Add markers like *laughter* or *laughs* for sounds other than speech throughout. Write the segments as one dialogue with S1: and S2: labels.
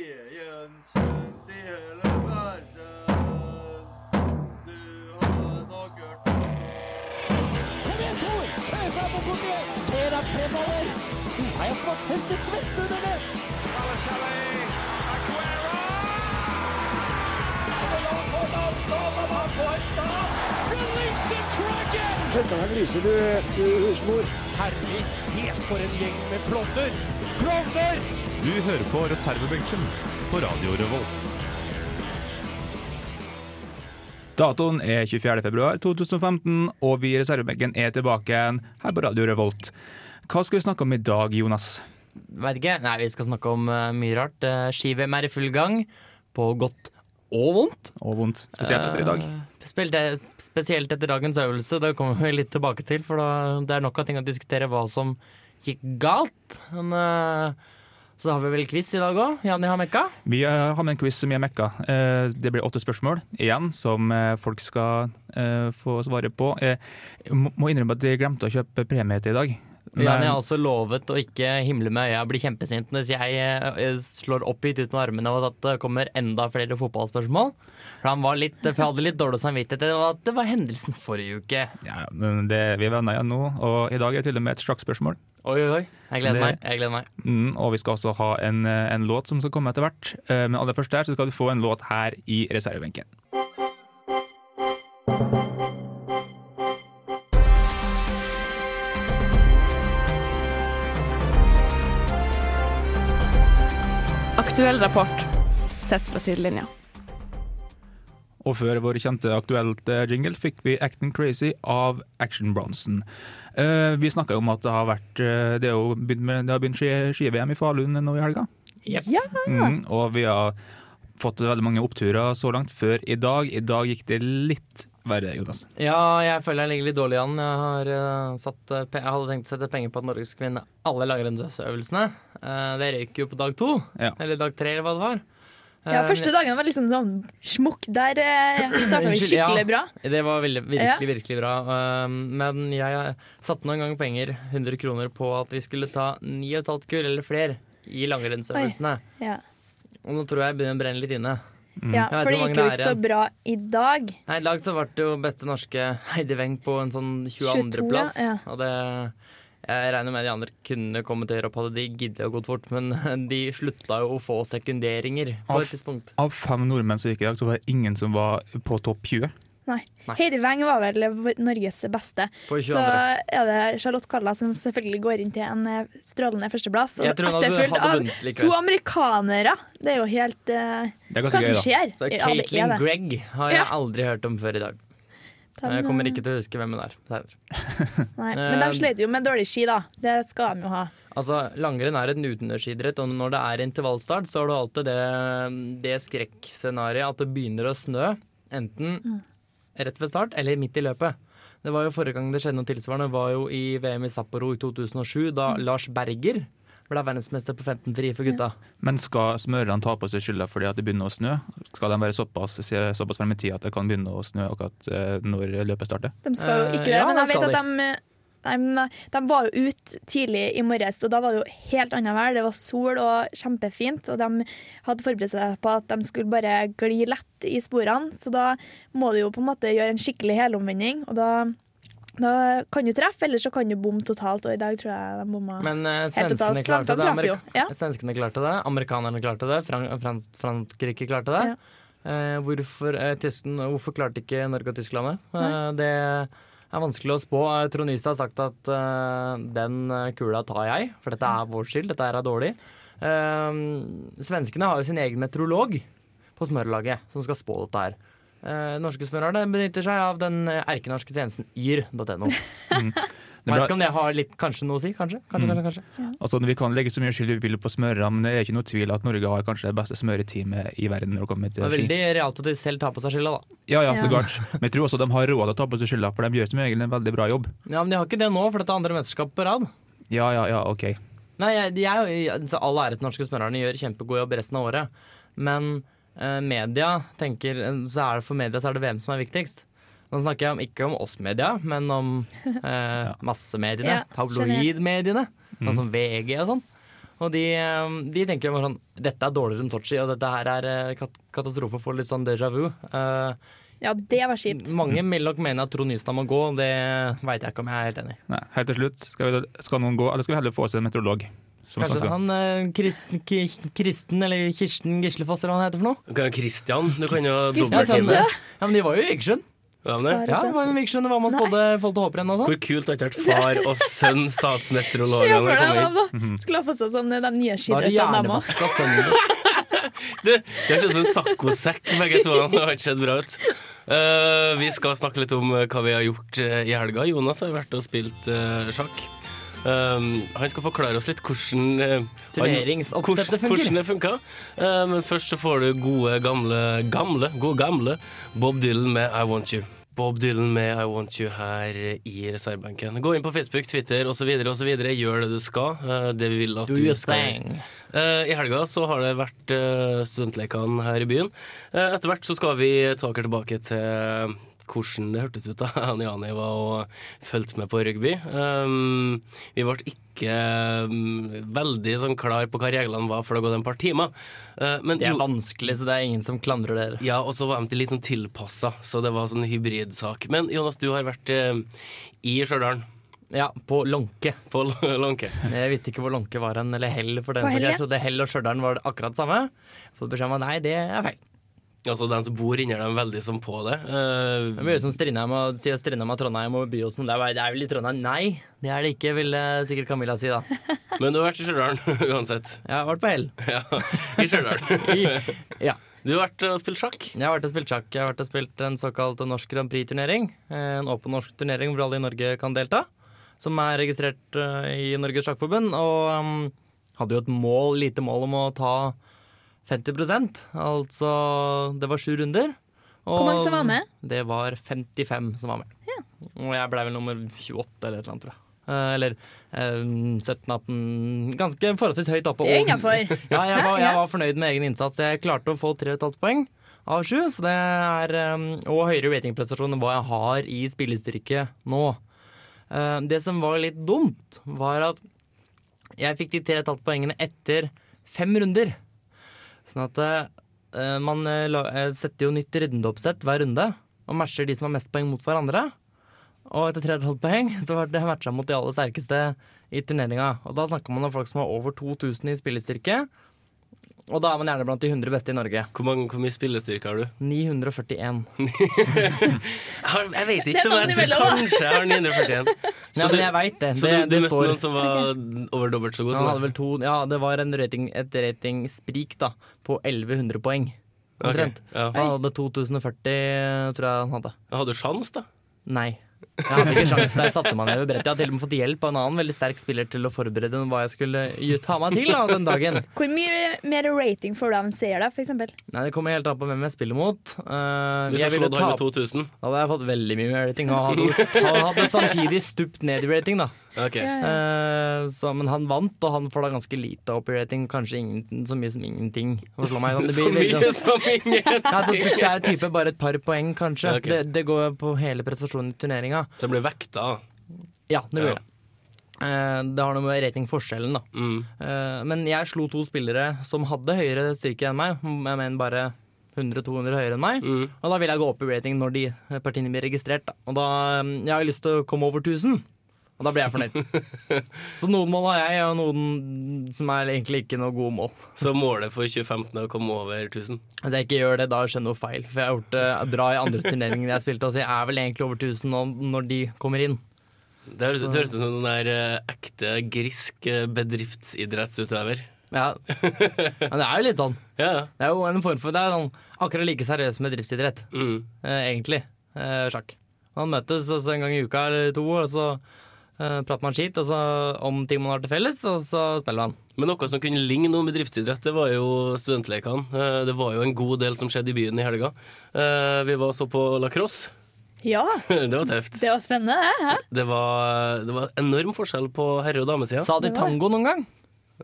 S1: Veden kjent i hele verden. Du har nok hørt om
S2: Kom igjen, Tor! Kjør fram og bort igjen! Se deg fremover! Nå har jeg smakt helt til svettbundene!
S3: Du hører på reservebenken på Radio Revolt.
S4: Datoen er 24. februar 2015, og vi i reservebenken er tilbake igjen her på Radio Revolt. Hva skal vi snakke om i dag, Jonas?
S5: Vet ikke. Nei, vi skal snakke om eh, mye rart. Uh, Ski-VM er i full gang. På godt og vondt.
S4: Og vondt, spesielt etter i dag.
S5: Eh, spesielt- spesielt etter dagens øvelse. Det kommer vi litt tilbake til, for da, det er nok av ting å diskutere hva som gikk galt. Men, eh, så da har vi vel quiz i dag òg. Janni har mekka.
S4: Vi eh, har med en quiz som jeg mekka. Eh, Det blir åtte spørsmål igjen, som eh, folk skal eh, få svare på. Jeg må må innrømme at jeg glemte å kjøpe premie til i dag.
S5: Janni har også lovet å ikke himle med øya og bli kjempesint hvis jeg eh, slår oppgitt ut med armene og at det kommer enda flere fotballspørsmål. For han var litt, for jeg hadde litt dårlig samvittighet til at det var hendelsen forrige uke.
S4: ja, men det, vi er venner igjen nå, og i dag er det til og med et sjakkspørsmål.
S5: Oi, oi, oi. Jeg
S4: Så det-
S5: gleder meg. jeg gleder meg.
S4: Mm, og vi skal også ha en, eh, en låt som skal komme etter hvert. Eh, Men aller først der så skal du få en låt her i reservebenken.
S6: Aktuell rapport sett fra sidelinja.
S4: Og før vår kjente aktuelt eh, jingle fikk vi Acting Crazy av Action Bronson. Eh, vi snakka om at det har vært eh, Det, er jo begynt med, det har begynt ski- ski-VM i Falun nå i helga.
S5: Jepp.
S6: Ja.
S4: Mm, og vi har fått veldig mange oppturer så langt før i dag. I dag gikk det litt verre, Jonas.
S5: Ja, jeg føler jeg ligger litt dårlig an. Jeg, har, eh, satt, eh, pe- jeg hadde tenkt å sette penger på at Norge skulle vinne alle langrennsøvelsene. Eh, det røyk jo på dag to,
S4: Ja.
S5: eller dag tre, eller hva det var.
S7: Ja,
S5: Eh,
S7: første dagen var liksom sånn smukk.
S5: *clears throat*
S7: Der eh, starta vi
S5: Unnskyld, ja.
S7: skikkelig bra.
S5: Det var veldig,
S7: Ja.
S5: virkelig, virkelig bra. Eh, men jeg eh, satte noen ganger penger, 100 kroner, på at vi skulle ta 9,5 kull eller flere i langrennsøvelsene.
S7: Ja.
S5: Og nå tror jeg jeg begynner å brenne litt inne.
S7: Ja,
S5: Mm. Jeg vet
S7: for det
S5: hvor mange
S7: gikk jo
S5: det
S7: ikke
S5: er
S7: så
S5: igjen.
S7: bra i dag.
S5: Nei, I dag så ble det jo beste norske Heidi Weng på en sånn
S7: 22.,
S5: 22.-plass.
S7: ja.
S5: Og det Jeg regner med de andre kunne kommet høyere opp hadde de giddet å gå fort, men *laughs* de slutta jo å få sekunderinger på
S4: Aff.
S5: et tidspunkt.
S4: Av fem nordmenn som gikk i dag, så var det ingen som var på topp 20.
S7: Nei.
S5: Nei.
S7: Heidi Weng var vel v- Norges beste.
S5: På
S7: Så
S5: 22.
S7: er det Charlotte Kalla som selvfølgelig går inn til en eh, strålende førsteplass. Og
S5: Jeg tror hun hadde-
S7: etterfulgt
S5: hadde
S7: av
S5: vunnet likevel.
S7: to amerikanere. Det er jo helt eh,
S4: Det er
S7: Hva
S4: ganske
S7: som
S4: gøy, da.
S7: skjer?
S5: Så
S7: Ja, det
S5: Caitlin
S7: er det.
S5: Gregg har jeg
S7: Ja. eh,
S5: aldri hørt om før i dag. Men Jeg kommer ikke til å huske hvem hun er. senere.
S7: Nei, men de
S5: Eh,
S7: sløyde jo med dårlig ski, da. Det skal de jo ha.
S5: Altså, Langrenn er en utendørsidrett, og når det er intervallstart, så har du alltid det, det skrekkscenarioet at det begynner å snø, enten rett ved start eller midt i løpet. Det var jo Forrige gang det skjedde noe tilsvarende, var jo i VM i Sapporo i 2007, da Lars Berger ble verdensmester på 15 fri for gutta.
S4: Men skal smørerne ta på seg skylda fordi at det begynner å snø? Skal de være såpass, se såpass frem i tid at det kan begynne å snø akkurat eh, når løpet starter?
S7: De skal jo
S5: Eh,
S7: ikke det,
S5: ja,
S7: men
S5: det
S7: jeg vet
S5: skal
S7: at de Nei, men eh, de var jo ute tidlig i morges, og da var det jo helt annet vær. Det var sol og kjempefint, og de hadde forberedt seg på at de skulle bare gli lett i sporene. Så da må du jo på en måte gjøre en skikkelig helomvending, og da, da kan du treffe, eller så kan du bomme totalt. Og i dag tror jeg de bomma.
S5: Men eh,
S7: Helt totalt.
S5: svenskene klarte det.
S7: Svenskene traff jo,
S5: Amerik-
S7: ja.
S5: Svenskene klarte det, amerikanerne klarte det, Fran Fran Frankrike klarte det.
S7: Ja.
S5: Eh, hvorfor, eh, Tyskland- hvorfor klarte ikke Norge og Tyskland det? Eh, det er vanskelig å spå. Eh, Trond Nyse har sagt at eh, den eh, kula tar jeg, for dette er vår skyld, dette her er dårlig. Eh, svenskene har jo sin egen meteorolog på smørelaget som skal spå dette her. Eh, norske smørerne benytter seg av den eh, erkenorske tjenesten yr.no.
S4: Mm.
S5: *laughs*
S4: Det er
S5: Vet ikke
S4: bra.
S5: om det har litt kanskje noe å si? Kanskje? Kanskje, kanskje, kanskje.
S4: Altså, vi kan legge så mye skyld vi vil på smørerne, men det er ikke noe tvil at Norge har kanskje det beste smøreteamet i verden når det kommer
S5: Det
S4: til
S5: er
S4: ski.
S5: veldig realt at de selv tar på seg skylda, da.
S4: Ja, ja,
S7: Ja.
S4: så klart. Men jeg tror også de har råd til å ta på seg skylda, for de gjør som regel en veldig bra jobb.
S5: Ja, Men de har ikke det nå, for dette er andre mesterskap på rad.
S4: Ja, ja, ja, ok.
S5: Nei, jeg, jeg, jeg, så altså, All ære til norske smørerne, gjør kjempegod jobb resten av året. Men eh, media tenker eh, så er det For media så er det VM som er viktigst. Nå snakker jeg om, ikke om oss media, men om eh, massemediene.
S7: Ja,
S5: tabloidmediene. Sånn som VG og sånn. Og de, eh, de tenker jo bare sånn Dette er dårligere enn Sotsji, og dette her er eh, kat katastrofe for litt sånn déjà vu. Eh,
S7: Ja, det var kjipt.
S5: mange vil nok mene at Trond Nystad må gå, og det veit jeg ikke om jeg er helt enig i.
S4: Nei, helt til slutt, skal, vi, skal noen gå, eller skal vi heller få oss en meteorolog? Som
S5: Kanskje
S4: snakker?
S5: han eh, Kristen, Ki- Kristen eller Kirsten Gislefoss eller hva han heter for noe?
S8: Du kan- Christian, du kan jo
S7: Christian altså,
S8: dobbelttegne.
S7: Sande.
S5: Ja, men de var jo i Egersund.
S8: Hva med det?
S7: Far og
S5: Ja,
S7: sønn.
S5: det var jo i Egersund, det var man spådde folk til håprenn og sånn.
S8: Hvor kult hadde det vært far og sønn
S7: *laughs* Se
S8: statsmeteorologene
S7: for deg dem,
S8: komme inn.
S7: da!
S5: Mhm.
S7: Skulle ha fått seg sånn eh, de
S5: Da
S7: nye
S5: er det
S7: skidressene, dem òg.
S5: hjernevaska *laughs* sønnen.
S8: Du, det er som en saccosekk, begge to. Det har ikke sett bra ut. Eh, vi skal snakke litt om eh, hva vi har gjort eh, i helga. Jonas har vært og spilt eh, sjakk. Um, han skal forklare oss litt hvordan eh, han-
S5: Turneringsoppsettet
S8: hvordan-
S5: funker.
S8: Hvordan det funker. Eh, men først så får du gode gamle, gamle, gode gamle Bob Dylan med I Want You. Bob Dylan med I Want You her i reservebenken. Gå inn på Facebook, Twitter osv. Gjør det du skal. eh, det vi vil at
S5: Do
S8: du
S5: your
S8: skal gjøre.
S5: thing.
S8: Eh, I helga så har det vært eh, studentlekene her i byen. Eh, etter hvert så skal vi ta dere tilbake til hvordan det hørtes ut da *laughs* Anne Jani var og fulgte med på rugby. Um, vi ble ikke mm, veldig sånn klar på hva reglene var før det gått et par timer. Eh, men
S5: Det er
S8: jo-
S5: vanskelig, så det er ingen som klandrer dere.
S8: ja, og så var de litt sånn tilpassa, så det var sånn hybridsak. Men Jonas, du har vært eh, i Stjørdal,
S5: Ja, på Lånke.
S8: på *laughs* Lånke.
S5: Jeg visste ikke hvor Lånke var hen, eller Hell for den
S7: På
S5: saks
S7: Hell, ja.
S5: Jeg trodde Hell og Stjørdal var akkurat det samme. Fått beskjed om at nei, det er feil.
S8: Altså, de som bor inni dem, veldig som på det. Eh,
S5: Det blir jo som Strindheim og sier Strindheim og Trondheim og Byåsen. Det er, bare, det er vel i Trondheim. Nei, det er det ikke, ville sikkert Camilla si da.
S8: men du har vært i Stjørdal *laughs* uansett.
S5: Jeg har vært på Hell.
S8: Ja, i Stjørdal.
S5: Ja.
S8: Du har vært og spilt sjakk.
S5: Jeg har vært og spilt sjakk. Jeg har vært og spilt en såkalt norsk Grand Prix-turnering. Eh, En åpen norsk turnering hvor alle i Norge kan delta. Som er registrert eh, i Norges Sjakkforbund. Og um, hadde jo et mål, lite mål om å ta 50 Altså det var sju runder. Og
S7: Hvor mange som var med?
S5: Det var 55 som var med. Og jeg blei vel nummer 28 eller et eller annet, tror jeg. Eh, Eller 17-18 Ganske forholdsvis høyt oppe.
S7: Det er
S5: og-
S7: innafor.
S5: ja, jeg var,
S7: Ja.
S5: jeg var fornøyd med egen innsats. Jeg klarte å få 3,5 poeng av 7, så det er, um, og høyere ratingprestasjon enn hva jeg har i spillestyrke nå. Eh, Det som var litt dumt, var at jeg fikk de 3,5 poengene etter fem runder. Sånn at eh, man eh, la- eh, setter jo nytt rundeoppsett hver runde, og matcher de som har mest poeng mot hverandre. Og etter 3,5 poeng *laughs* så ble det matcha mot de aller sterkeste i turneringa. Og da snakker man om folk som har over 2000 i spillestyrke. Og da er man gjerne blant de 100 beste i Norge.
S8: Hvor, mange, hvor mye spillestyrke har du?
S5: 941.
S8: Jeg, har, jeg vet
S7: Det
S8: ikke,
S7: er
S8: men jeg tror
S7: innimellom, da.
S8: kanskje jeg har 941.
S5: Nei,
S8: du-
S5: men jeg veit det.
S8: Så
S5: Det,
S8: du, du
S5: det
S8: møtte
S5: står.
S8: noen som var over dobbelt så god?
S5: Han hadde
S8: Som deg?
S5: vel to Ja, det var en rating, et ratingsprik da, på 1100 poeng.
S8: Ok,
S5: Omtrent.
S8: ja.
S5: Han hadde 2040, tror jeg han hadde.
S8: Hadde du sjans, da?
S5: Nei. Jeg hadde ikke sjans der satte meg ned ved brettet. Jeg hadde til og med fått hjelp av en annen veldig sterk spiller til å forberede hva jeg skulle ta meg til da, den dagen.
S7: Hvor mye mer rating får du av en seer, da, for eksempel?
S5: Nei, Det kommer helt an på hvem jeg spiller mot. Eh,
S8: Du
S5: jeg
S8: som
S5: ville
S8: slått han med
S5: tape-
S8: 2000?
S5: Da hadde jeg fått veldig mye mer rating. Og hadde, han hadde samtidig stupt ned i rating, da.
S8: Ok.
S5: Eh, så, men han vant, og han får da ganske lite opp i rating. Kanskje ingen, så mye som ingenting. Å slå meg, sånn. det
S8: *laughs* Så
S5: blir veldig-
S8: mye som ingen!
S5: Ja, så det er type bare et par poeng, kanskje.
S8: Ok.
S5: Det, det går på hele prestasjonen i turneringa.
S8: Så jeg ble vekta.
S5: Ja, det
S8: Ja.
S5: gjør det. Eh, det har noe med ratingforskjellen, da.
S8: Mm.
S5: Eh, Men jeg slo to spillere som hadde høyere styrke enn meg. Jeg mener bare 100-200 høyere enn meg.
S8: Mm.
S5: Og da vil jeg gå opp i rating når de eh, partiene blir registrert. Da. Og da um, Jeg har lyst til å komme over 1000. Og da blir jeg fornøyd. Så noen mål har jeg, og noen som er egentlig ikke noe gode mål.
S8: Så målet for 2015 er å komme over 1000.
S5: At jeg ikke gjør det, da skjer noe feil. For jeg har gjort det bra i andre turneringer jeg spilte, og så jeg er vel egentlig over 1000 nå, når de kommer inn.
S8: Det høres det høres ut som en der eh, ekte grisk eh, bedriftsidrettsutøver.
S5: Ja. Men det er jo litt sånn.
S8: Ja, ja.
S5: Det er jo en form for Det er sånn akkurat like seriøst med driftsidrett.
S8: Mm.
S5: eh, egentlig, eh, sjakk. Man møtes altså, en gang i uka eller to, og så eh, prater man skit og så, om ting man har til felles, og så spiller man.
S8: Men noe som kunne ligne noe med driftsidrett, det var jo studentlekene. Eh, Det var jo en god del som skjedde i byen i helga. Eh, Vi var og så på lacrosse. *laughs*
S7: Ja,
S8: Det var tøft.
S7: det var spennende. Hæ? Hæ?
S8: Det var, det var enorm forskjell på herre- og damesida.
S5: Sa de tango noen gang?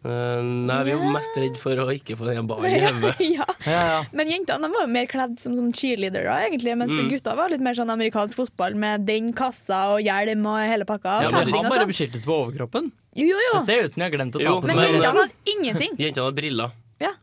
S8: Eh, Nei, vi er jo mest redd for å ikke få den ballen i hodet.
S5: *laughs*
S7: *laughs* Ja.
S5: Ja, ja.
S7: Men jentene de var jo mer kledd som, som cheerleadere, egentlig, mens
S5: Mm.
S7: gutta var litt mer sånn amerikansk fotball med den kassa og hjelm og hele pakka.
S8: Ja,
S7: og
S8: men
S5: Men
S7: padding
S5: han
S7: og
S5: bare
S7: sånn.
S5: beskyttes på overkroppen.
S7: Jo, jo, jo.
S5: Det ser ut som de har glemt å ta
S8: Jo,
S5: på
S7: Men
S8: men-
S5: seg
S7: jentene hadde ingenting.
S8: Jentene har briller.
S7: Ja.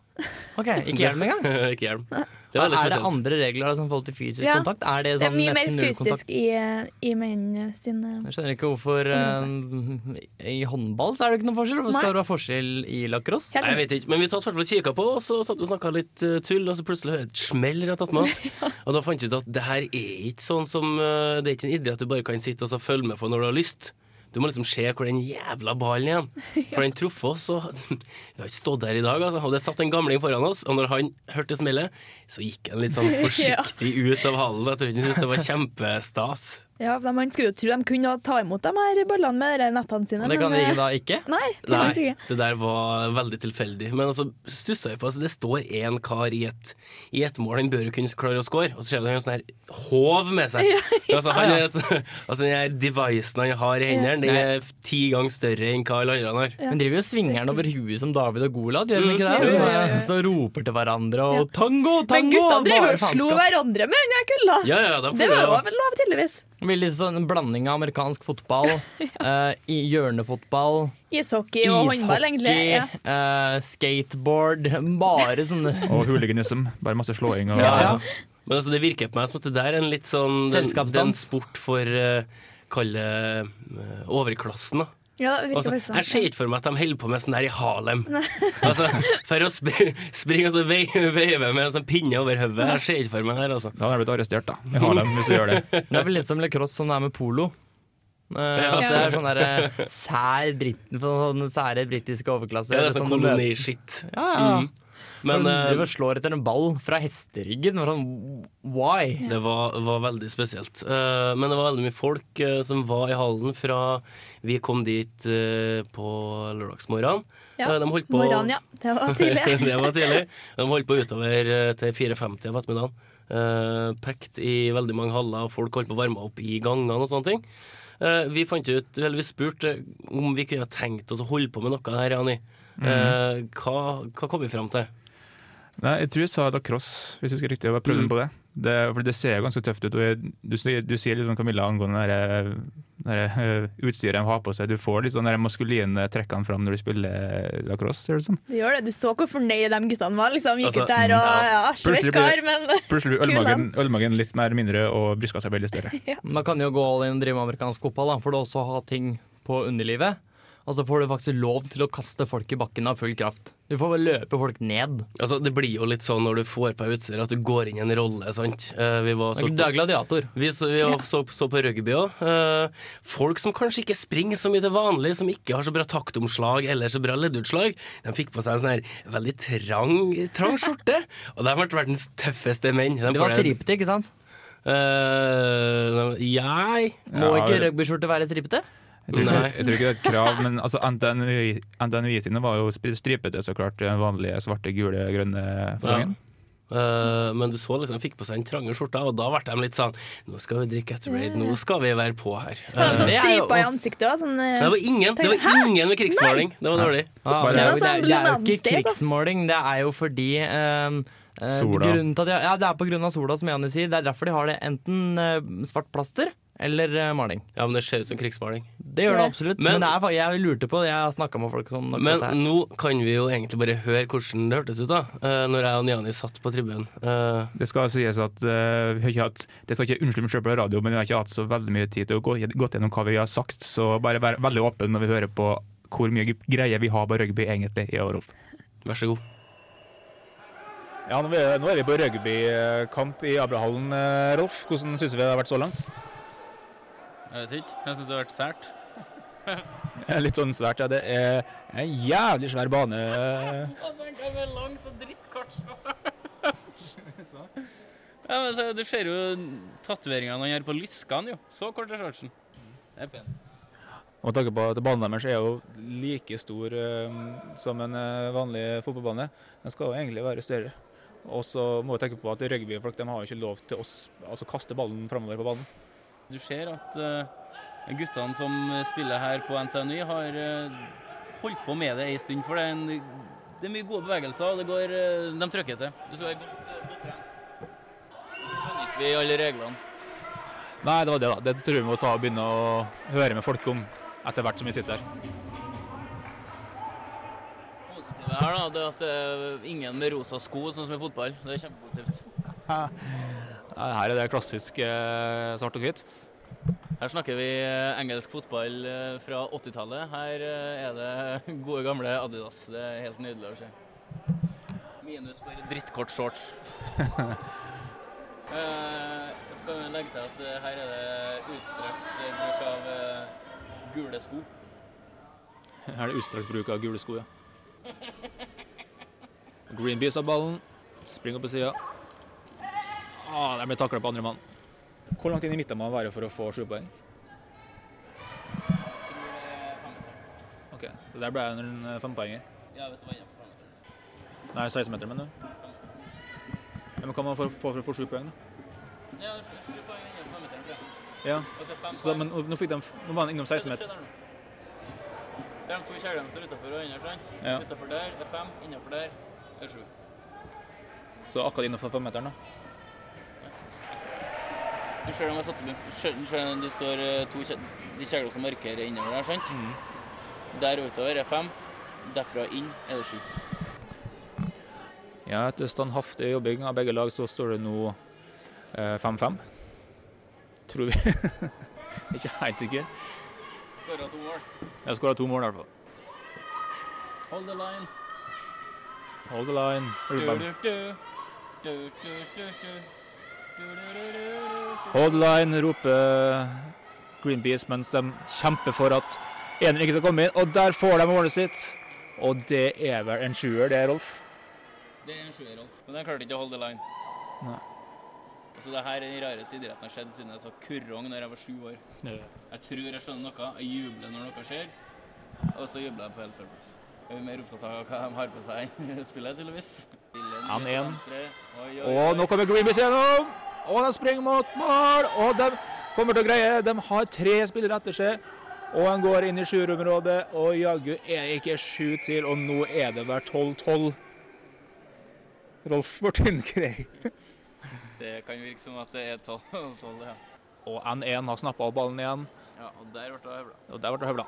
S5: Ok, Ikke hjelm engang?
S8: *laughs* ikke hjelm. Det er
S5: Er
S8: veldig
S5: det
S8: spesielt.
S5: andre regler som forhold til fysisk
S7: Ja.
S5: kontakt? Er det
S7: Det er
S5: sånn
S7: mye mer
S5: nesten nullkontakt?
S7: fysisk i, i menn sin
S5: Jeg
S7: eh,
S5: skjønner ikke hvorfor eh, I håndball så er det ikke noen forskjell. Hvorfor
S7: Nei.
S5: skal det være forskjell i lacrosse?
S8: Nei, jeg vet ikke, men vi satt og kikka på, og så satt vi og snakka litt eh, tull, og så plutselig hører jeg et smell rett attmed oss. Og da fant vi ut at det her er ikke sånn som eh, Det er ikke en idé at du bare kan sitte og så følge med på når du har lyst. Du må liksom se hvor den jævla ballen er. igjen. For den traff oss, og *laughs* Vi har ikke stått der i dag, altså. Og det satt en gamling foran oss, og når han hørte smellet, så gikk han litt sånn forsiktig ut av hallen. Jeg tror ikke han syntes det var kjempestas.
S7: Ja, for Man skulle jo tro de kunne ta imot de her ballene med de nettene sine.
S5: Men det kan de
S7: eh,
S5: da ikke.
S7: Nei, tydeligvis
S8: Nei,
S7: ikke.
S8: det der var veldig tilfeldig. Men altså, stussa jeg på altså, Det står én kar i et, i et mål, han bør jo kunne klare å score, og så ser du han har en sånn her håv med
S7: *laughs*
S8: seg. Altså, han er, et- altså den her devicen han har i hendene, den er f- ti ganger større enn hva alle andre har.
S5: Men driver jo og svinger den over huet som David og Goliat, gjør de ikke det?
S7: Jo, jo, jo, jo.
S5: Som- Som roper til hverandre og 'tango, tango'!
S7: Men gutta
S5: og bare
S7: driver og slo
S5: faenskap.
S7: hverandre med den her kølla!
S8: Ja, ja, de
S7: Det
S8: får
S7: var
S8: jo-
S7: jo lov, tydeligvis.
S5: Veldig sånn en blanding av amerikansk
S7: *laughs*
S5: fotball, eh, i hjørnefotball,
S7: Ishockey og håndball, egentlig.
S5: ishockey,
S7: Ja.
S5: eh, skateboard. *laughs* Bare sånne
S4: Og hooliganism. Bare masse slåing og
S8: Ja, ja. Men altså, det virker på meg som at det der er en litt sånn den,
S5: Selskapsdans.
S8: den sport for uh, Kalle eh, overklassen, da.
S7: Ja, det virker
S8: Altså,
S7: faktisk sånn.
S8: jeg ser ikke for meg at de holder på med sånn der i Harlem. *laughs* altså, for å springe, springe og så vei- veive med en sånn pinne over hodet. Jeg ser ikke for meg det her, altså.
S4: Da hadde jeg blitt arrestert, da. I Harlem, hvis du gjør det.
S5: Det er vel litt som lacrosse, sånn det er med polo. Eh, at det er
S8: *laughs*
S5: sånn der, eh, sær britten for den sære britiske overklasse.
S8: Det er
S5: eller
S8: sånn
S5: sånn-
S8: koloniskitt.
S5: Ja, ja.
S8: Mm. Men
S5: Men,
S8: eh,
S5: driver og slår etter en ball fra hesteryggen. og Sånn, why?
S8: eh, det var, var veldig spesielt. Eh, men det var veldig mye folk eh, som var i hallen fra vi kom dit eh, på lørdagsmorgenen.
S7: Ja,
S8: Eh, de holdt på
S7: Morgenen, ja. Det
S8: *laughs*
S7: var tidlig.
S8: det var tidlig. De holdt på utover eh, til 4.50 av ettermiddagen. Eh, pekt i veldig mange haller, og folk holdt på å varme opp i gangene og sånne ting. Eh, vi fant ut, eller vi spurte om vi kunne ha tenkt oss å holde på med noe her, Jani. Eh, hva, hva kom vi fram til?
S4: Nei, jeg tror jeg sa lacrosse, hvis jeg husker riktig. Jeg var prøvd på det. det. For det ser jo ganske tøft ut. Og jeg, du, sier- du sier litt sånn Camilla angående det der, eh, det der, eh, utstyret de har på seg. Du får litt sånn de maskuline trekkene fram når du spiller lacrosse, ser det ut som.
S7: Du gjør det. Du så hvor fornøyd de guttene var. liksom Gikk
S8: Altså,
S7: ut der og ja,
S4: Plutselig
S7: svett
S4: blir-
S7: kar, men *laughs*
S4: Plutselig blir ølmagen, ølmagen litt mer mindre og brystkassa blir litt større.
S5: Man kan jo gå all in og drive med amerikansk fotball, da, for du også har ting på underlivet. Og så får du faktisk lov til å kaste folk i bakken av full kraft. Du får løpe folk ned.
S8: Altså, det blir jo litt sånn når du får på utstyr, at du går inn i en rolle, sant. Eh, vi var så
S5: Du er gladiator.
S8: Vi, så, vi så, så på rugby òg. folk som kanskje ikke springer så mye til vanlig, som ikke har så bra taktomslag eller så bra leddutslag, de fikk på seg en sånn her veldig trang, trang skjorte. Og de ble verdens tøffeste menn. De
S5: Det var
S8: får det-
S5: stripete, ikke sant?
S8: Eh, jeg
S5: Må
S4: Ja,
S5: ikke
S4: det-
S5: rugbyskjorte være stripete?
S4: Jeg tror,
S8: Nei.
S4: ikke, jeg tror ikke det er et krav, men altså, NTNU, NTNU sine var jo sp- stripete, så klart. Den vanlige svarte, gule, grønne fasongen.
S8: Eh, men du så liksom, de fikk på seg den trange skjorta, og da ble de litt sånn Nå skal vi drikke Gatorade, nå skal vi være på her.
S7: så
S8: Eh,
S7: sånn
S5: det er jo
S7: striper i
S5: oss.
S7: ansiktet og sånn. eh,
S8: det var ingen det var ingen med krigsmåling. Det var dårlig.
S5: Ja,
S4: Bare-
S5: men det, er jo, det,
S7: Det var
S5: er,
S7: sånn
S5: det er jo
S7: Blue
S5: ikke
S7: Mountain-stil, ass.
S5: krigsmåling, det er jo fordi ehm, eh,
S4: Sola.
S5: grunnen til at de, Ja, det er på grunn av sola, som Janne sier. Det er derfor de har det enten eh, svart plaster eller eh, maling.
S8: Ja, men det ser ut som krigsmåling.
S5: Det gjør det
S7: Ja.
S5: absolutt. Men,
S8: Men-
S5: det er, fa- jeg lurte på det, jeg har snakka med folk som akkurat
S8: Men
S5: det her.
S8: nå kan vi jo egentlig bare høre hvordan det hørtes ut da eh, Når jeg og Niani satt på tribunen Eh,
S4: Det skal sies at eh, vi har ikke hatt Det skal ikke unnskylde meg selv på radio, men vi har ikke hatt så veldig mye tid til å gå gått gjennom hva vi har sagt, så bare vær veldig åpen når vi hører på hvor mye g- greier vi har på rugby egentlig i Europe.
S8: Vær så god
S9: Ja, nå er, nå er vi på rugbykamp i Abrahallen, eh, Rolf. Hvordan syns vi det har vært så langt?
S8: Jeg vet ikke, jeg synes det har vært sært
S9: Eh, Litt sånn svært, ja. Det er en jævlig svær bane. eh.
S10: Ja, men se, Du ser jo tatoveringene han gjør på lyskene, jo. Så kort er shortsen. Det er pent.
S9: Og med tanke på at banen deres er jo like stor eh, som en eh, vanlig fotballbane. Den skal jo egentlig være større. Og så må vi tenke på at rugbyfolk de har jo ikke lov til å s- altså kaste ballen framover på banen.
S10: Du ser at eh, guttene som spiller her på NTNU, har eh, holdt på med det ei stund. For det er, en, det er mye gode bevegelser, og det går, eh, de trykker til. Du skal være godt, eh, godt trent. Og så skjønner ikke vi alle reglene.
S9: Nei, det var det, da. Det tror jeg vi må ta og begynne å høre med folk om etter hvert som vi sitter her.
S8: med her, da, det er at det er ingen med rosa sko, sånn som i fotball. Det er kjempepositivt.
S4: Ja, Her er det klassisk eh, svart og hvitt.
S8: Her snakker vi eh, engelsk fotball eh, fra 80-tallet. Her eh, er det *laughs* gode gamle Adidas. Det er helt nydelig å se. Minus for drittkort shorts. Eh, Jeg skal jo legge til at eh, her er det utstrakt eh, bruk av eh, gule sko.
S4: Her er det utstrakt bruk av gule sko, ja. Greenpeace har ballen. Springer opp på sida. Ah, der blir takla på andre mann. Hvor langt inn i midten må man være for å få sju poeng? Ok, Det der ble en eh, fempoenger.
S8: Ja, hvis det var innenfor planen.
S4: Nei, 16-meter, mener du? Ja, men kan man få få for å få sju poeng, da?
S8: Ja, sju- sju poeng innenfor femmeteren, tror jeg.
S4: Ja.
S8: Og så fem
S4: Så da,
S8: poeng.
S4: men nå nå fikk de, nå var han innom 16-meter.
S8: Det er de to kjelene som er utenfor og inne, sant?
S4: Ja.
S8: Utenfor der er fem, innenfor der er sju.
S4: Så akkurat innenfor femmeteren, da.
S8: Du ser dem har satt opp en selv- selv om det står eh, to kje- de kjeglene som markerer innover der, sant?
S4: Mm.
S8: Der utover er fem, derfra inn er det sju.
S4: Ja, etter standhaftig jobbing av begge lag så står det nå eh, 5-5. Tror vi. *laughs* Ikke helt sikker.
S8: Skåra to mål.
S4: Jeg skåra to mål i hvert fall.
S8: Hold the line.
S4: Hold the line. Rubem.
S8: Du-du-du. Du-du-du-du. Du-du-du-du-du.
S4: Hold the line, roper Greenpeace mens de kjemper for at eneren ikke skal komme inn. Og der får de målet sitt. Og det er vel en sjuer, det, Rolf?
S8: Det er en sjuer, Rolf. Men den klarte ikke å holde line.
S4: Nei.
S8: Altså, det her er den rareste idretten jeg har sett siden jeg så kurrong da jeg var sju år. Jeg tror jeg skjønner noe. Jeg jubler når noe skjer. Og så jubler jeg på helt purpose. Jeg er mer opptatt av hva de har på seg enn *laughs* spillet, tydeligvis.
S4: Han
S8: Han
S4: en. Og nå kommer Greenpeace gjennom! Og de springer mot mål! Og de kommer til å greie det. De har tre spillere etter seg. Og han går inn i sjuerområdet, og jaggu er det ikke sju til, og nå er det vel 12-12. Rolf Martin Grei.
S8: Det kan virke som at det er tolv, tolv, ja.
S4: Og N1 har snappa opp ballen igjen,
S8: ja. Og der ble det høvla.
S4: og der ble det høvla.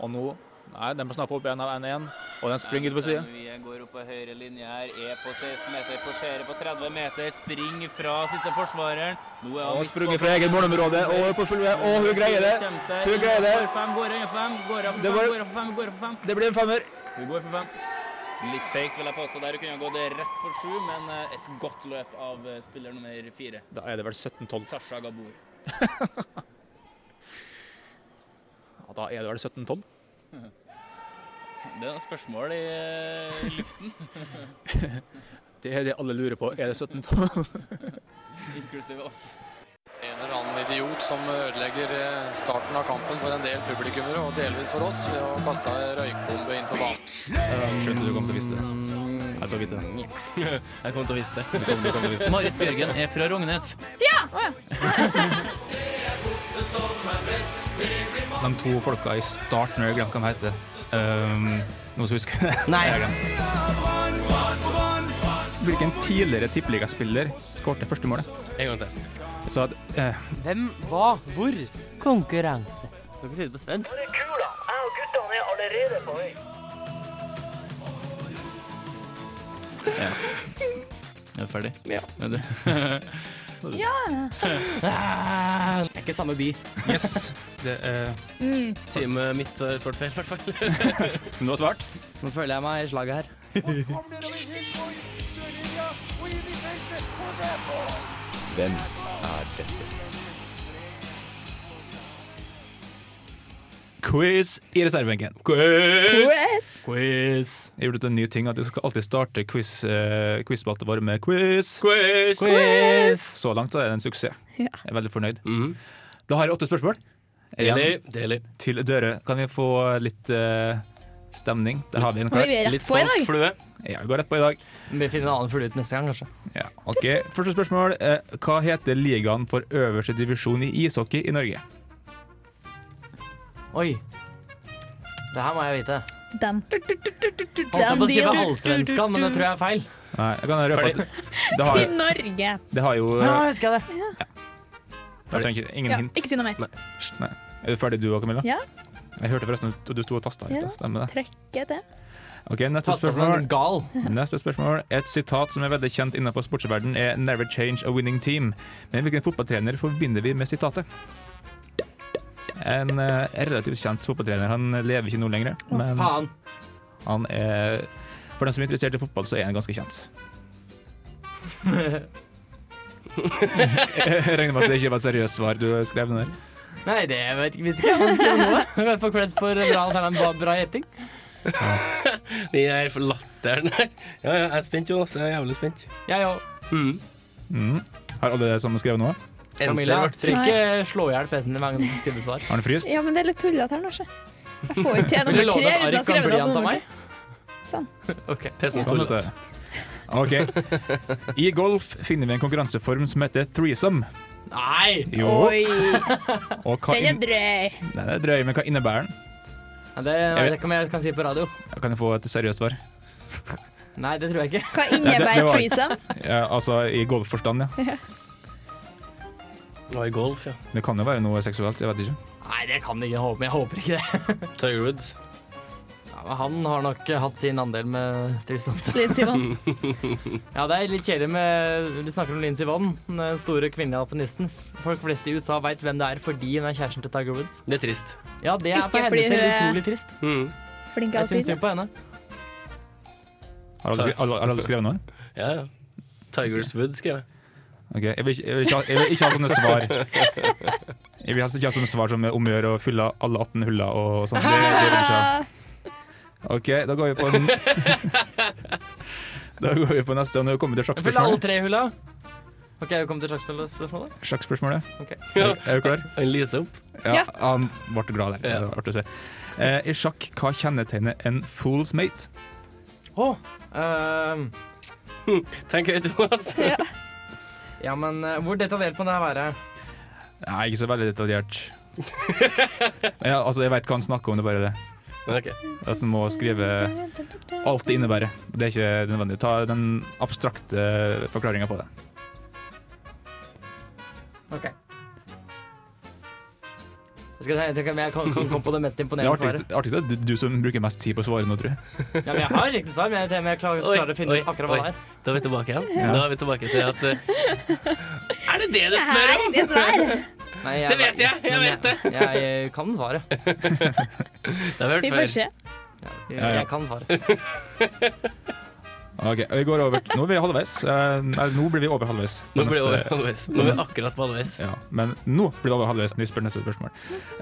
S4: Og nå Nei, de snappa opp igjen av N1, og den springer ut på sida.
S8: Vi går opp på høyre linje her, er på 16 meter, forserer på 30 meter, spring fra siste forsvareren. Nå er han
S4: Og
S8: midt
S4: sprunget
S8: på-
S4: fra eget målområde, og er på full vei, og hun greier det.
S8: Kommer seg.
S4: Hun greier det.
S8: Går for fem, går for fem, går for
S4: Det
S8: fem,
S4: var-
S8: går for fem, går for fem.
S4: Det blir en femmer.
S8: Hun går for fem. Litt feigt, vil jeg påstå. Der kunne hun gått rett for sju, men eh, et godt løp av eh, spiller nummer fire,
S4: Da er det vel 17-12.
S8: Sasha Gabor.
S4: Ja, da er det vel 17-12.
S8: Det er noen spørsmål i eh, *laughs* luften,
S4: Det er det alle lurer på. Er det 17-12?
S8: inklusive oss.
S11: En eller annen idiot som ødelegger eh, starten av kampen for en del publikummere, og delvis for oss, ved å kaste ei røykbombe inn på banen.
S12: Skjønte du kom til å vise det. Jeg tar vite det.
S13: *laughs* Jeg kommer til å vise det.
S12: Du kom, du kom til å vise det.
S13: Marit Bjørgen er fra Rognes.
S14: De to folka i starten, jeg glemte hva de heter. Ehm, Noen som husker det?
S5: Nei.
S14: Jeg har glemt. Hvilken tidligere tippeligaspiller skåret første målet?
S13: En gang til.
S14: Så at, eh,
S5: Hvem, hva, hvor? Konkurranse. Du kan si det på svensk.
S13: Er du ferdig? Ja. Er du?
S7: *laughs*
S5: Ah, det er ikke samme by.
S14: yes, det er
S7: Mm.
S13: Teamet mitt
S8: eh,
S13: har svart feil, i hvert fall.
S12: Men du har svart?
S5: Nå føler jeg meg i slaget her.
S14: quiz i reservebenken.
S7: Yes.
S13: Quiz.
S14: Jeg gjorde ut en ny ting at jeg skal alltid starte quiz, eh, quizspalten vår med quiz.
S13: Quiz!
S5: Quiz!
S14: Så langt er det en suksess.
S7: Ja.
S14: Jeg er veldig fornøyd.
S13: Mhm.
S14: Da har jeg åtte spørsmål.
S13: Deilig. Deilig.
S14: til døre. Kan vi få litt eh, stemning? Der har vi en
S7: Oi,
S14: klar.
S7: vi er
S13: Litt
S7: rett på i
S8: sånn
S13: spansk
S7: dag.
S13: flue.
S14: Ja, vi går rett på i dag.
S5: Vi finner en annen flue ut neste gang, kanskje.
S14: Ja, ok. Første spørsmål. Eh, hva heter ligaen for øverste divisjon i ishockey i Norge?
S5: Oi. Det her må jeg vite.
S7: Den.
S5: Holdt jeg på å skrive
S7: Den.
S5: halvsvenskan, men det tror jeg er feil.
S14: Nei, jeg kan røpe at det
S7: I
S14: har,
S7: Norge.
S14: det har jo
S5: Ja,
S14: eh,
S5: husker jeg det.
S14: Jeg trenger ikke- ingen
S7: Ja,
S14: hint.
S7: ikke si noe mer.
S14: Er du ferdig du òg, Camilla?
S7: Ja.
S14: Jeg hørte forresten at du sto og tasta i
S7: Ja.
S14: stad. Stemmer det.
S7: Trekke det.
S4: Ok, neste
S5: Fatter man
S4: spørsmål.
S5: en gal?
S4: Neste spørsmål. Et sitat som er veldig kjent innenfor sportsverden er 'never change a winning team'. Men hvilken fotballtrener forbinder vi med sitatet? En eh, relativt kjent fotballtrener. Han lever ikke nå lenger, men
S5: Faen.
S4: han er For den som er interessert i fotball, så er han ganske kjent. Jeg regner med at det ikke var et seriøst svar du skrev ned.
S5: Nei, det jeg vet ikke. Visste ikke jeg hadde skrevet noe. Jeg vet på creds for bra, alternativ- bra gjetting.
S8: Den her latteren *laughs* her. Ja, ja, jeg er spent, Jonas. Jeg er jævlig spent.
S5: Jeg òg.
S8: Mm.
S4: Mm. Har alle som skrev noe?
S5: Camilla,
S8: Enter,
S5: trykk ikke slå i hjel PC-en din hver gang du skriver svar.
S4: Har han fryst?
S7: Ja, men det er litt tullete her nå, se. Jeg får ikke til
S5: Vil du
S7: nummer
S5: love
S7: tre
S5: at
S7: uten å ha
S5: Arik kan
S7: skrevet
S5: bli
S7: opp
S5: av
S7: nummer
S5: meg?
S7: tre. Sånn.
S5: *laughs* Ok.
S8: Pesten
S4: Sånn, vet du. OK. I golf finner vi en konkurranseform som heter threesome.
S5: Nei!
S4: Jo. Og hva
S7: Den er
S4: inn...
S7: drøy.
S4: Nei, det er drøy, men hva innebærer den?
S5: Ja, Det, nei, det kan jeg kan si på radio.
S4: Kan jeg få et seriøst svar?
S5: Nei, det tror jeg ikke.
S7: Hva
S4: det
S7: innebærer
S4: var-
S7: threesome?
S4: Ja, altså i golfforstand, ja.
S8: Ja, i golf, ja.
S4: Det kan jo være noe seksuelt, jeg vet ikke.
S5: Nei, det kan jeg ikke håpe, men jeg håper ikke det.
S8: Tiger Woods.
S5: Ja, men han har nok eh, hatt sin andel med Tristan.
S7: Litt,
S4: *laughs*
S7: Simon.
S5: Ja, det er litt kjedelig med Vi snakker om Lindsey Vonn, den eh, store kvinnelige alpinisten. Folk flest i USA veit hvem det er fordi hun er kjæresten til Tiger Woods.
S8: Det er trist.
S5: Ja, det er
S7: Ikke
S5: for henne
S7: fordi
S5: selv
S7: hun er-
S5: utrolig trist.
S8: Mm.
S7: Flink
S5: Jeg syns
S7: alpin.
S5: synd på henne.
S4: Har alle, skre- alle, har alle skrevet noe?
S8: Ja, ja. Tigers Wood, skrev jeg.
S4: Ok, Jeg vil, ikke- jeg vil, ikke, ha- jeg vil ikke ha sånne svar. Jeg vil altså ikke ha sånne svar som omgjør å fylle alle 18 huller og sånn. Det, det vil jeg ikke ha. OK, da går vi på en *laughs* Da går vi på neste, og nå kommer vi til
S5: Jeg fyller alle
S4: sjakkspørsmålet.
S5: tre hula. OK, vi kommer til sjakkspillet. spørsmålet.
S4: Sjakkspørsmålet.
S5: Ok.
S4: Er, er du klar?
S8: Han lyser opp.
S4: Ja,
S7: Ja.
S4: han ble glad der. Det var artig å se. Eh, I sjakk, hva kjennetegner en fool's mate?
S5: Å! ehm,
S8: Tenk høyt, Jonas.
S5: ja, men eh, hvor detaljert må det her være?
S4: Nei, ikke så veldig detaljert.
S8: *laughs*
S4: ja, altså, jeg veit hva han snakker om, det er bare det.
S8: Ok.
S4: At en må skrive alt det innebærer. Det er ikke nødvendig. Ta den abstrakte forklaringa på det.
S5: OK. Jeg skal tenke- tenke om jeg kan, kan komme på det mest
S4: Det
S5: imponerende
S4: artigste
S5: svaret.
S4: det artigste er du, du som bruker mest tid på å svare nå, tror jeg.
S5: Ja, men jeg har riktig svar, men jeg, men jeg klarer,
S8: Oi,
S5: klarer å finne
S8: oi,
S5: ut akkurat hva
S8: oi.
S5: det er.
S8: Da er vi tilbake igjen.
S4: Ja.
S8: Da er vi tilbake til at eh, Er det det du
S7: Det
S8: spør
S7: er
S8: om?
S7: riktig svar.
S5: Nei, jeg,
S8: *laughs* Det vet jeg, jeg
S5: men
S8: vet det.
S5: Jeg, jeg kan svaret.
S8: Det har
S7: Vi
S8: vi hørt
S7: får
S8: før.
S7: se.
S5: Jeg,
S4: Ja, ja.
S5: jeg kan svaret.
S4: Ok, og vi går over til- Nå er vi halvveis. Eh, Nei, nå blir vi over halvveis. eh,
S8: Nå blir det over
S4: Neste-
S8: halvveis. Nå er vi akkurat på halvveis.
S4: Ja, men nå blir det over halvveis når vi spør neste spørsmål.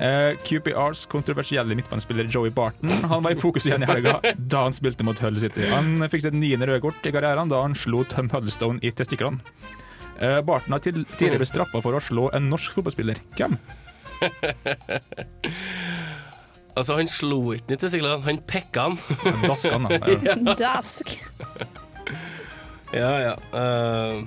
S4: Eh, QPRs kontroversielle midtbanespiller Joey Barton Han var i fokus igjen i helga da han spilte mot Hull City. Han fikk sitt niende røde kort i karrieren da han slo Tom Huddlestone i testiklene. Eh, Barton har til- tidligere blitt straffa for å slå en norsk fotballspiller. Hvem?
S8: Altså, han slo ikke ned til siglene, han pekka han.
S4: Ja, Dask han, da. Eh,
S7: Dask.
S8: Ja, ja. Eh,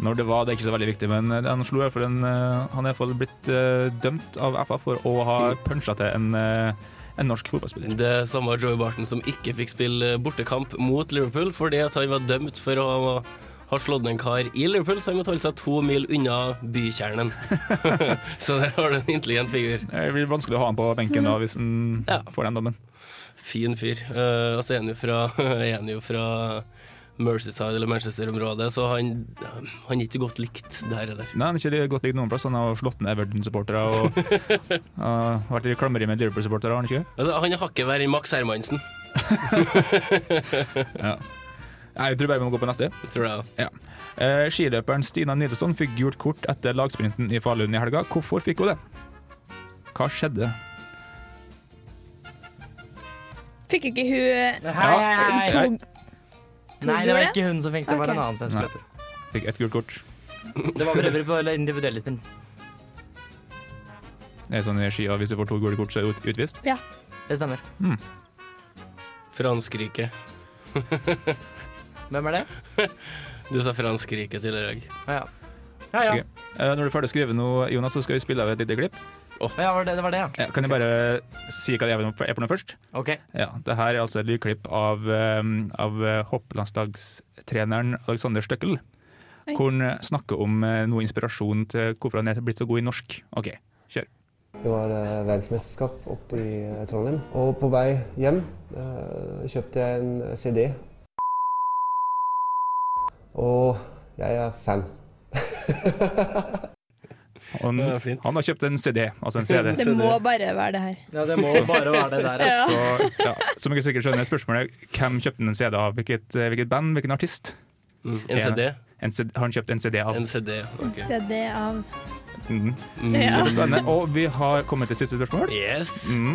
S4: Når det var, det er ikke så veldig viktig, men eh, han slo i hvert fall en eh, Han er i hvert fall blitt eh, dømt av FA for å ha punsja til en, eh, en norsk fotballspiller.
S8: det samme var Joey Barton som ikke fikk spille bortekamp mot Liverpool fordi at han var dømt for å ha slått ned en kar i Liverpool, så han måtte holde seg to mil unna bykjernen. *laughs* så der har du en intelligent figur.
S4: Det blir vanskelig å ha han på benken da, hvis han
S8: Ja.
S4: får den dommen.
S8: Fin fyr. Eh, og så er han jo fra, *laughs* er han jo fra Mercyside eller Manchester-området, så han, han er ikke godt likt der eller.
S4: Nei, han er ikke godt likt noen plass. Han har slått ned Everton-supportere og har vært i klammeri med Liverpool-supportere, har han ikke?
S8: Altså, han er hakket verre enn Max Hermansen,
S4: Nei, jeg tror bare vi må gå på neste.
S8: tror jeg.
S4: Eh, skiløperen Stina Nilsson fikk gult kort etter lagsprinten i Falun i helga. Hvorfor fikk hun det? Hva skjedde?
S7: Fikk ikke hun
S5: Hei, hei, hei.
S7: to
S5: Nei, det var
S7: gjorde det?
S5: ikke hun som fikk det, det var
S7: Ok.
S5: en annen som
S4: Nei.
S5: skulle opp.
S4: Fikk ett gult kort.
S5: Det var prøver på eller individuelle spinn.
S4: Det er sånn i skia, hvis du får to gule kort, så er du ut- utvist.
S5: Det stemmer.
S8: Frankrike.
S5: Hvem er det?
S8: Du sa Frankrike tidligere i dag.
S5: Å, ja. Ja, ja.
S4: Ok. Eh, når du er ferdig å skrive nå, Jonas, så skal vi spille av et lite klipp.
S5: Å, ja var det, det var det, ja.
S4: Ja, kan jeg bare si hva det er for- er for noe først?
S5: OK.
S4: Ja, det her er altså et lydklipp av, um, av eh, hopplandslagstreneren Alexander Støkkel.
S7: Oi.
S4: Hvor han eh, snakker om eh, noe inspirasjon til hvorfor han er blitt så god i norsk. Ok, kjør.
S15: Det var eh, verdensmesterskap oppe i eh, Trondheim. Og på vei hjem eh, kjøpte jeg en CD. Og jeg er fan.
S4: Han, Mm. han har kjøpt en CD, altså en CD.
S7: *laughs* Det må bare være det her.
S5: Ja, det må bare være det der.
S7: Ja.
S4: Så, ja, som dere sikkert skjønner, spørsmålet er, hvem kjøpte den CD av? Hvilket, eh, hvilket band? Hvilken artist?
S8: en CD?
S4: En CD har han kjøpt en CD av?
S8: En CD, ok. Mm.
S7: CD av
S4: Mhm.
S7: Ja.
S4: Det blir Spennende. Og vi har kommet til siste spørsmål.
S8: Yes.
S4: Mhm.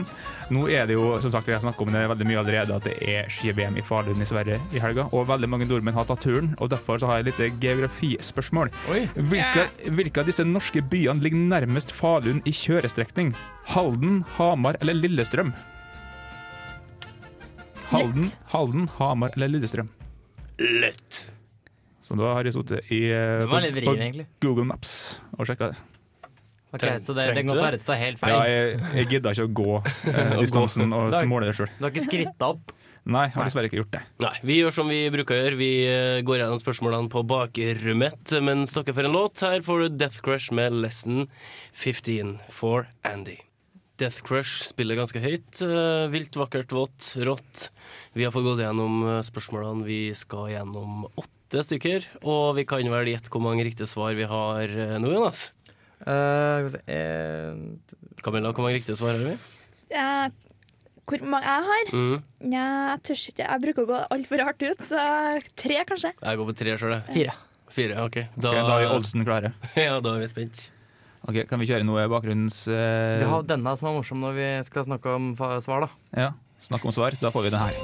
S4: Nå er det jo, som sagt, vi har snakket om det veldig mye allerede, at det er ski-VM i Falun i Sverige i helga. Og veldig mange nordmenn har tatt turen, og derfor så har jeg litt geografispørsmål. Hvilke, hvilke av disse norske byene ligger nærmest Falun i kjørestrekning? Halden, Hamar eller Lillestrøm? Halden, Halden Hamar eller Lillestrøm?
S8: Lett.
S4: Så da har jeg sittet i eh,
S5: *laughs* Det var litt
S4: på-
S5: vrien, egentlig.
S4: på Google Maps og sjekka det.
S5: Ok, så det, det
S8: Trengte
S5: kan
S8: du
S5: ta
S8: det?
S5: rett og slett helt feil.
S4: Ja, jeg, jeg gidda ikke å gå
S5: *laughs*
S4: eh,
S8: Å gå.
S4: distansen og
S5: Da-
S4: måle det sjøl.
S5: Du har ikke skritta opp?
S4: Nei, jeg har dessverre ikke gjort det.
S8: Nei, vi gjør som vi bruker å gjøre. Vi eh, går gjennom spørsmålene på bakrommet mens dere får en låt. Her får du Death Crush med Lesson 15 for Andy. Death Crush spiller ganske høyt. eh, Vilt, vakkert, vått, rått. Vi har fått gått gjennom eh, spørsmålene. Vi skal gjennom åtte stykker. Og vi kan vel gjette hvor mange riktige svar vi har eh, nå, Jonas?
S5: Eh, skal vi se, en,
S8: Camilla, hvor mange riktige svar har vi?
S7: eh, Hvor mange jeg har?
S8: Mm.
S7: Nja, jeg tør ikke. Jeg bruker å gå altfor hardt ut, så tre, kanskje.
S8: Jeg går på tre sjøl, jeg.
S5: fire.
S8: Fire, OK.
S4: Da, da er oddsen klare.
S8: *laughs* ja, da er vi spent.
S4: Ok, Kan vi kjøre noe bakgrunns... eh,
S5: Vi har denne som er morsom når vi skal snakke om fa- svar, da.
S4: ja, snakk om svar. Da får vi den her.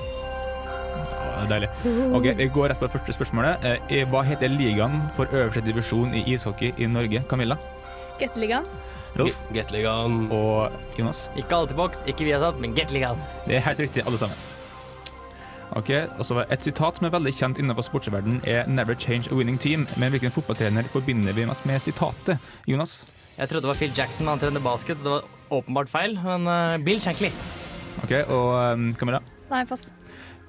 S4: Ja, det er Deilig. Ok, Vi går rett på det første spørsmålet. Eh, hva heter ligaen for øverste divisjon i ishockey i Norge? Camilla
S7: Gateligaen.
S4: Rolf
S8: Gateligaen.
S4: og Jonas.
S5: Ikke Altibox, ikke Viasat, men Gateligaen.
S4: Det er helt riktig, alle sammen. Ok, og så var Et sitat som er veldig kjent innenfor sportsverdenen, er 'Never change a winning team'. Men hvilken fotballtrener forbinder vi mest med sitatet? Jonas?
S5: Jeg trodde det var Phil Jackson, han trener basket, så det var åpenbart feil. Men eh, Bill Shankly.
S4: Ok, og um, Camilla?
S7: Nei, pass.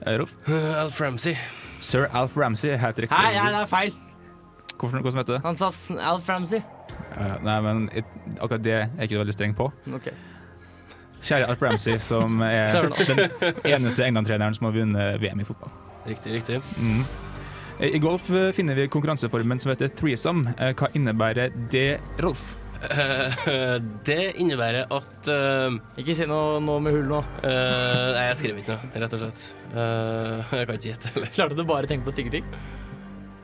S4: Eh, Rolf?
S8: Alf Ramsey.
S4: Sir Alf Ramsey er helt riktig.
S5: Nei, nei, det er feil.
S4: Hvorfor, hvordan vet du det?
S5: Han sa S- Alf Ramsey.
S4: Eh, nei, men it, akkurat det er jeg ikke veldig streng på.
S5: Ok.
S4: Kjære Alf Ramsey, som *laughs* er den eneste England-treneren som har vunnet VM i fotball.
S8: Riktig, riktig.
S4: Mm. Eh, I golf eh, finner vi konkurranseformen som heter threesome. Eh, Hva innebærer det, Rolf?
S8: Eh, det innebærer at eh,
S5: Ikke si noe, noe med hull nå.
S8: eh, Nei, jeg skrev ikke noe, rett og slett. Eh, jeg kan ikke gjette heller.
S5: Klarte du bare å tenke på stygge ting?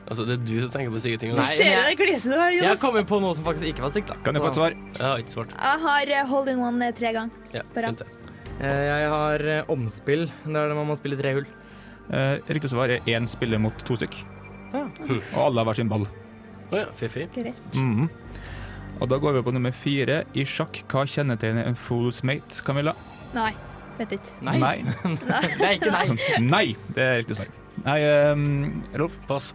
S8: Altså, det er du som tenker på stygge ting.
S7: Du
S8: altså.
S5: Nei,
S7: ser
S5: men
S7: jo
S5: jeg-
S7: det gliset du har,
S5: Jeg
S7: Jonas.
S5: kom jo på noe som faktisk ikke var stygt, da.
S4: Kan jeg få et svar?
S8: Jeg har ikke svart.
S7: Jeg har eh, hold in one eh, tre ganger.
S8: Ja,
S7: Bra.
S8: fint det.
S5: Eh, Jeg har eh, omspill. Det er det man må spille tre hull.
S4: Eh, Riktig svar er én spiller mot to stykk.
S5: Ja.
S4: Og alle har hver sin ball.
S8: Å ja, fiffig.
S7: Greit.
S4: Mhm. Og da går vi på nummer fire. I sjakk, hva kjennetegner en fool's mate, Camilla?
S7: Nei, vet ikke.
S5: Nei. Det er ikke nei.
S4: Sånn, nei, det er riktig svar. Nei, ehm, Rolf
S8: Pass.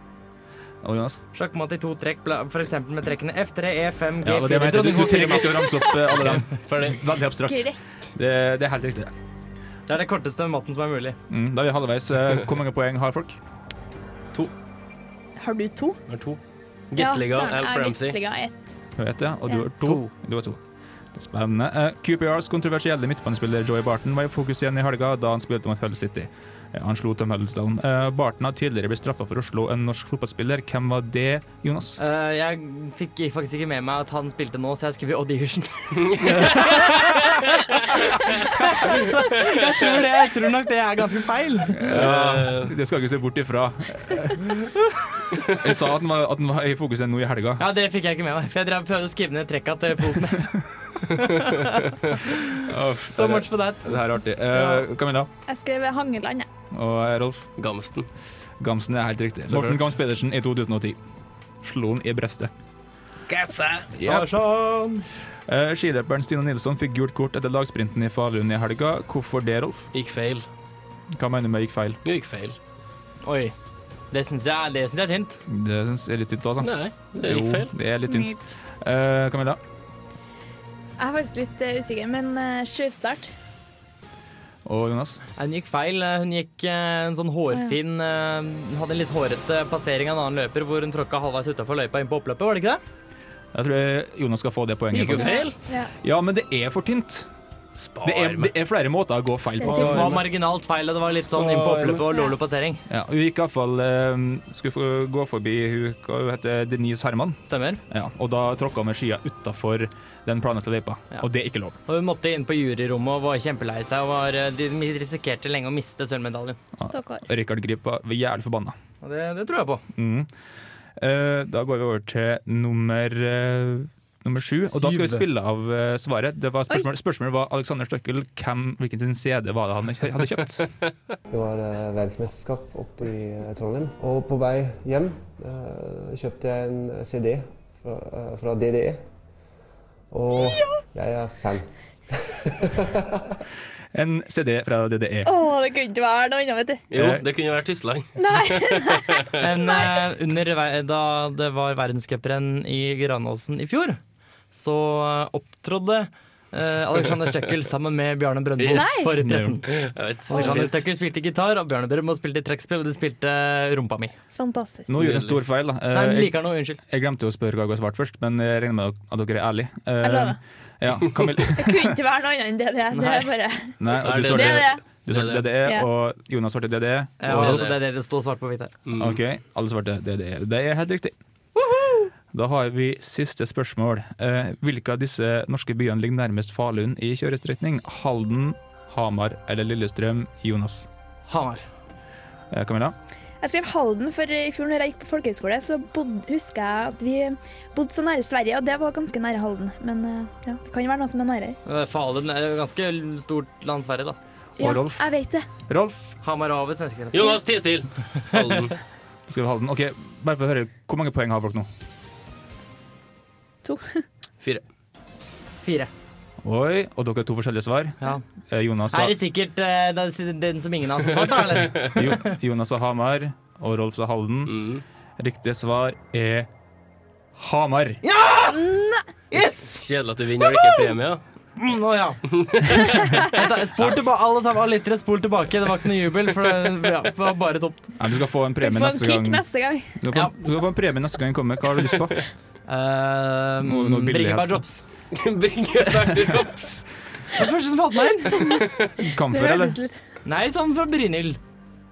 S4: og Jonas.
S5: Sjakkmatt i to trekk, bla- for eksempel med trekkene E F3, E5,
S4: Ja, det var det jeg
S5: G4,
S4: mente. Du,
S5: dronning
S4: du trenger
S5: H4.
S4: ikke å ramse opp eh, alle dem.
S8: Ferdig.
S4: *laughs* Veldig abstrakt.
S7: Greit.
S4: Det, det er helt riktig. det.
S5: Det er det korteste matten som er mulig.
S4: Mm, da er vi halvveis. Eh, Hvor mange poeng har folk?
S7: Har du to?
S8: Nummer to. Gateliga,
S7: søren,
S8: Alf
S7: jeg er
S8: Ramsey.
S7: Gateliga ett.
S4: Jeg vet det, og du har to. Du har to. Det er Spennende. Eh, QPRs kontroversielle midtbanespiller Joey Barton var i fokus igjen i helga da han spilte mot Hull City. Eh, Han slo Tom Huddlestone. Eh, Barton har tidligere blitt straffa for å slå en norsk fotballspiller. Hvem var det, Jonas?
S5: Eh, jeg fikk i- faktisk ikke med meg at han spilte nå, så jeg skrev audition. så jeg tror, det, jeg tror nok det er ganske feil.
S4: Ja, *laughs* det skal ikke se bort ifra. Jeg sa at han var, at han var i fokus igjen nå i helga.
S5: Ja, det fikk jeg ikke med meg, for jeg drev og prøvde å skrive ned trekka til *laughs* Fosen. So much for that.
S4: Det her er artig. Eh, Camilla
S7: Jeg skrev Hangeland, jeg.
S4: og Rolf
S8: Gamsten.
S4: Gamsen er helt riktig. Morten Gams Pedersen i 2010. Slo han i brystet. Yep.
S5: Tarzan.
S4: Eh, Skiløperen Stina Nilsson fikk gult kort etter lagsprinten i Falun i helga. Hvorfor det, Rolf?
S8: Gikk feil.
S4: Hva mener du med gikk feil?
S8: Jo, gikk feil.
S5: Oi. Det syns jeg, det synes jeg er et hint.
S4: Det syns jeg er litt tynt, altså.
S8: Nei, det gikk feil.
S4: Jo, det er litt tynt.
S7: Nytt.
S4: Eh, Camilla,
S7: Jeg er faktisk litt eh, usikker, men uh, sjøstart.
S4: og Jonas.
S5: Nei, Hun gikk feil. Hun gikk eh, en sånn hårfin eh, Hun hadde en litt hårete passering av en annen løper hvor hun tråkka halvveis utafor løypa inn på oppløpet, var det ikke det?
S4: Jeg tror eh, Jonas skal få det poenget.
S5: Gikk jo
S4: faktisk.
S5: feil. Ja.
S4: Ja, men det er for tynt. Det er, det er flere måter å gå feil
S5: Det
S4: på.
S5: var marginalt feil, og det var litt sånn inn på oppløpet og lolo passering.
S4: Ja, hun gikk iallfall eh, Skulle få gå forbi hun, hva hun heter Denise Herman. Ja, og da tråkka hun med skia utafor den planlagte løypa, og det er ikke lov.
S5: Og hun måtte inn på juryrommet og var kjempelei seg. Og var, eh, de risikerte lenge å miste sølvmedaljen.
S7: Stakkar.
S4: Rikard Grip var jævlig forbanna.
S5: Og det, det tror jeg på.
S4: Mm. Eh, da går vi over til nummer eh, Nummer sju, og da skal vi
S5: Syv.
S4: spille av eh, svaret. Det var spørsmål, spørsmålet var Alexander Støkkel, hvem, hvilken sin CD var det han hadde kjøpt?
S15: *laughs* Det var eh, verdensmesterskap oppe i eh, Trondheim. Og på vei hjem eh, kjøpte jeg en CD fra, eh, fra DDE. Og jeg er fan.
S4: *laughs* en CD fra E. DDE.
S7: Å, det kunne ikke være noe annet, vet du.
S8: Jo, det kunne vært Tyskland. *laughs*
S5: Men eh, under, ve- da det var verdenscuprenn i Granåsen i fjor, så eh, opptrådde eh, Alexander Støkkel sammen med Bjarne Brøndbo
S8: Yes.
S5: for pressen.
S8: Jeg vet.
S5: Alexander Støkkel spilte gitar, og Bjarne Brøndbo spilte trekkspill, og de spilte eh, Rumpa mi.
S7: Eh, Fantastisk.
S4: Nå gjør jeg en stor feil. da. Eh,
S5: Nei, men liker noe, unnskyld.
S4: Jeg glemte å spørre hva jeg har svart først, men jeg regner med at dere er ærlige. Eh,
S7: Jeg lover.
S4: ja,
S7: *laughs*
S4: Camille.
S7: Det kunne ikke være noe annet enn det det er. Det er bare
S4: Nei, og du
S7: Det er
S4: svarte
S7: det.
S4: Du svarte
S7: Det er det.
S4: DDE,
S7: Ja.
S4: og Jonas svarte DDE.
S5: Ja,
S4: og-
S5: altså, det er det det står svart på hvitt her.
S7: Mm.
S4: Ok, alle svarte DDE. Det er helt riktig. Da har vi siste spørsmål. Eh, hvilke av disse norske byene ligger nærmest Falun i kjørestrekning? Halden, Hamar eller Lillestrøm? Jonas.
S5: Hamar.
S4: Eh, Camilla?
S7: Jeg skrev Halden, for i fjor når jeg gikk på folkehøyskole, så bodde, husker jeg at vi bodde så nære Sverige, og det var ganske nære Halden. Men eh, ja, det kan jo være noe som er nærere.
S5: Eh, Falun er jo ganske stort land Sverige, da.
S7: Ja, jeg vet det.
S4: Rolf?
S5: Hamar over svenskegrensen.
S8: Jonas, tie still! Halden.
S4: Da skal vi Halden. Ok, bare for å høre, Hvor mange poeng har dere nå?
S7: To.
S8: Fire.
S5: Fire.
S4: Oi, og dere har to forskjellige svar.
S5: Ja.
S4: Eh, Jonas sa
S5: Er det sikkert eh, det er den som ingen har svart, da?
S4: *laughs*
S5: Eller?
S4: Jo, Jonas og Hamar, og Rolf sa Halden.
S8: Mm.
S4: Riktig svar er Hamar.
S7: Nei.
S8: Kjedelig at du vinner og ikke er premie. da.
S7: *laughs*
S5: Mm, Å ja. Vent da, Spol tilbake, alle sammen. Alle lyttere, spol tilbake. Det var ikke noe jubel, for det ja, det var bare tomt.
S4: Nei, du skal få en premie
S7: Få en
S4: neste gang.
S7: kick neste gang.
S4: Du, kan, du kan få en premie neste gang jeg kommer. Hva har du
S7: *laughs*
S4: lyst på?
S5: Uh,
S4: noe billig
S5: Bringebærdrops.
S8: Bringebærdrops.
S5: Det var det første som falt meg inn.
S4: Kamfer, eller?
S5: Nei, sånn fra Brynhild.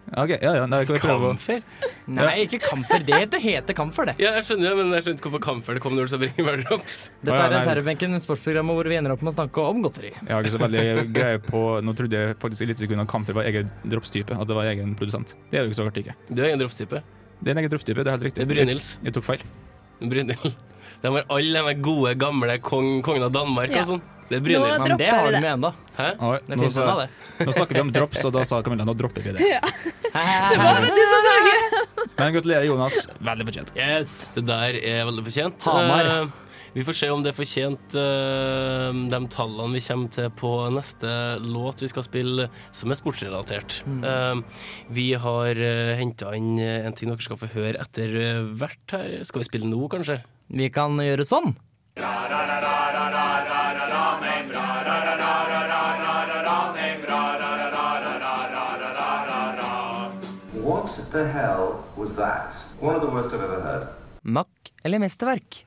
S4: Ok, ja, ja. Nei, jeg prøve. å-
S5: Nei, ikke kamfer. Det heter, heter kamfer, det.
S8: Ja, jeg skjønner det, men jeg skjønte ikke hvorfor kamfer det kom når du sa bringebærdrops.
S5: Dette er Reservebenken, sportsprogrammet hvor vi ender opp med å snakke om godteri.
S4: Jeg har ikke så veldig greie på Nå trodde jeg faktisk i litt sekund at Kamfer var egen dropstype. At det var egen produsent. Det er jo ikke så rart, ikke.
S8: Du er egen dropstype.
S4: Det er en egen dropstype, det er helt riktig.
S8: Det er Brynhilds.
S4: Jeg, jeg tok feil.
S8: Brynhild. De har alle de gode, gamle kong, kongen av Danmark
S7: Ja.
S8: og sånn. Det er
S7: Nå
S8: Brynhild.
S7: dropper
S5: Det har
S7: vi
S5: de
S7: det.
S5: jo ennå.
S8: Hæ?
S4: Oi,
S5: Det
S4: nå
S5: finnes
S4: sa-
S5: ennå, det. *laughs*
S4: Nå snakker vi om drops, og da sa Camilla nå dropper vi det.
S7: *laughs* Ja. Det var vel du som snakket.
S4: Men gratulerer, Jonas. Veldig fortjent.
S5: Yes.
S8: Det der er veldig fortjent.
S4: Hamar.
S8: Eh, vi får se om det er fortjent eh, de tallene vi kommer til på neste låt vi skal spille, som er sportsrelatert. Eh, vi har uh, henta inn eh, en ting dere skal få høre etter eh, hvert her. Skal vi spille nå, kanskje?
S5: Vi kan gjøre sånn.
S16: What the hell was that? One of the worst I've ever heard.
S5: Makk eller mesterverk?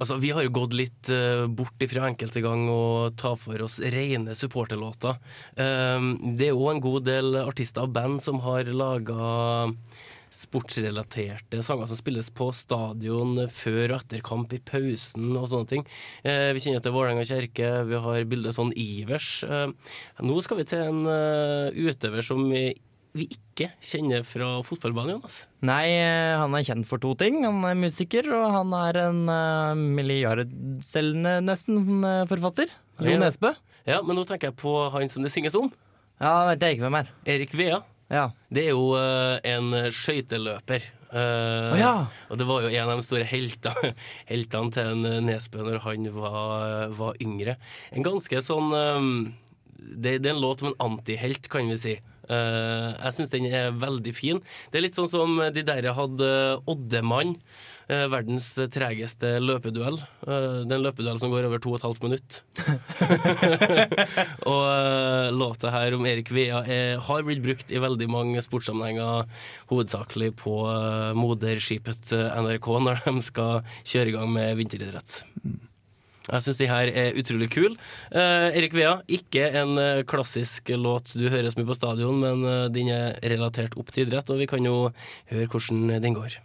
S8: Altså, Vi har jo gått litt eh, bort ifra enkelte gang og ta for oss rene supporterlåter. Ehm, det er jo en god del artister og band som har laga sportsrelaterte sanger som spilles på stadion før og etter kamp, i pausen og sånne ting. Eh, vi kjenner til Vålerenga kirke, vi har bildet sånn Ivers. Eh, nå skal vi til en eh, utøver som vi, vi ikke kjenner fra fotballbanen, Jonas.
S5: Nei, eh, han er kjent for to ting. Han er musiker, og han er en uh, milliardselgende nesten eh, forfatter. Jo
S8: Ja.
S5: Nesbø.
S8: Ja, men nå tenker jeg på han som det synges om.
S5: Ja, vet jeg ikke hvem er.
S8: Erik Vea.
S5: Ja.
S8: Det er jo eh, en skøyteløper. Eh,
S5: Å ja.
S8: Og det var jo en av de store heltene, *laughs* heltene til en eh, Nesbø når han var, eh, var yngre. En ganske sånn eh, det, det er en låt om en antihelt, kan vi si. Eh, jeg syns den er veldig fin. Det er litt sånn som de der hadde Oddemann, eh, verdens tregeste løpeduell. Eh, det er en løpeduell som går over to og et halvt minutt. og eh, låta her om Erik Vea er, har blitt brukt i veldig mange sportssammenhenger, hovedsakelig på eh, moderskipet eh, NRK når de skal kjøre i gang med vinteridrett. Jeg syns de her er utrolig kul. Eh, Erik Vea, ikke en eh, klassisk låt du hører så mye på stadion, men eh, den er relatert opp til idrett, og vi kan jo høre hvordan den går.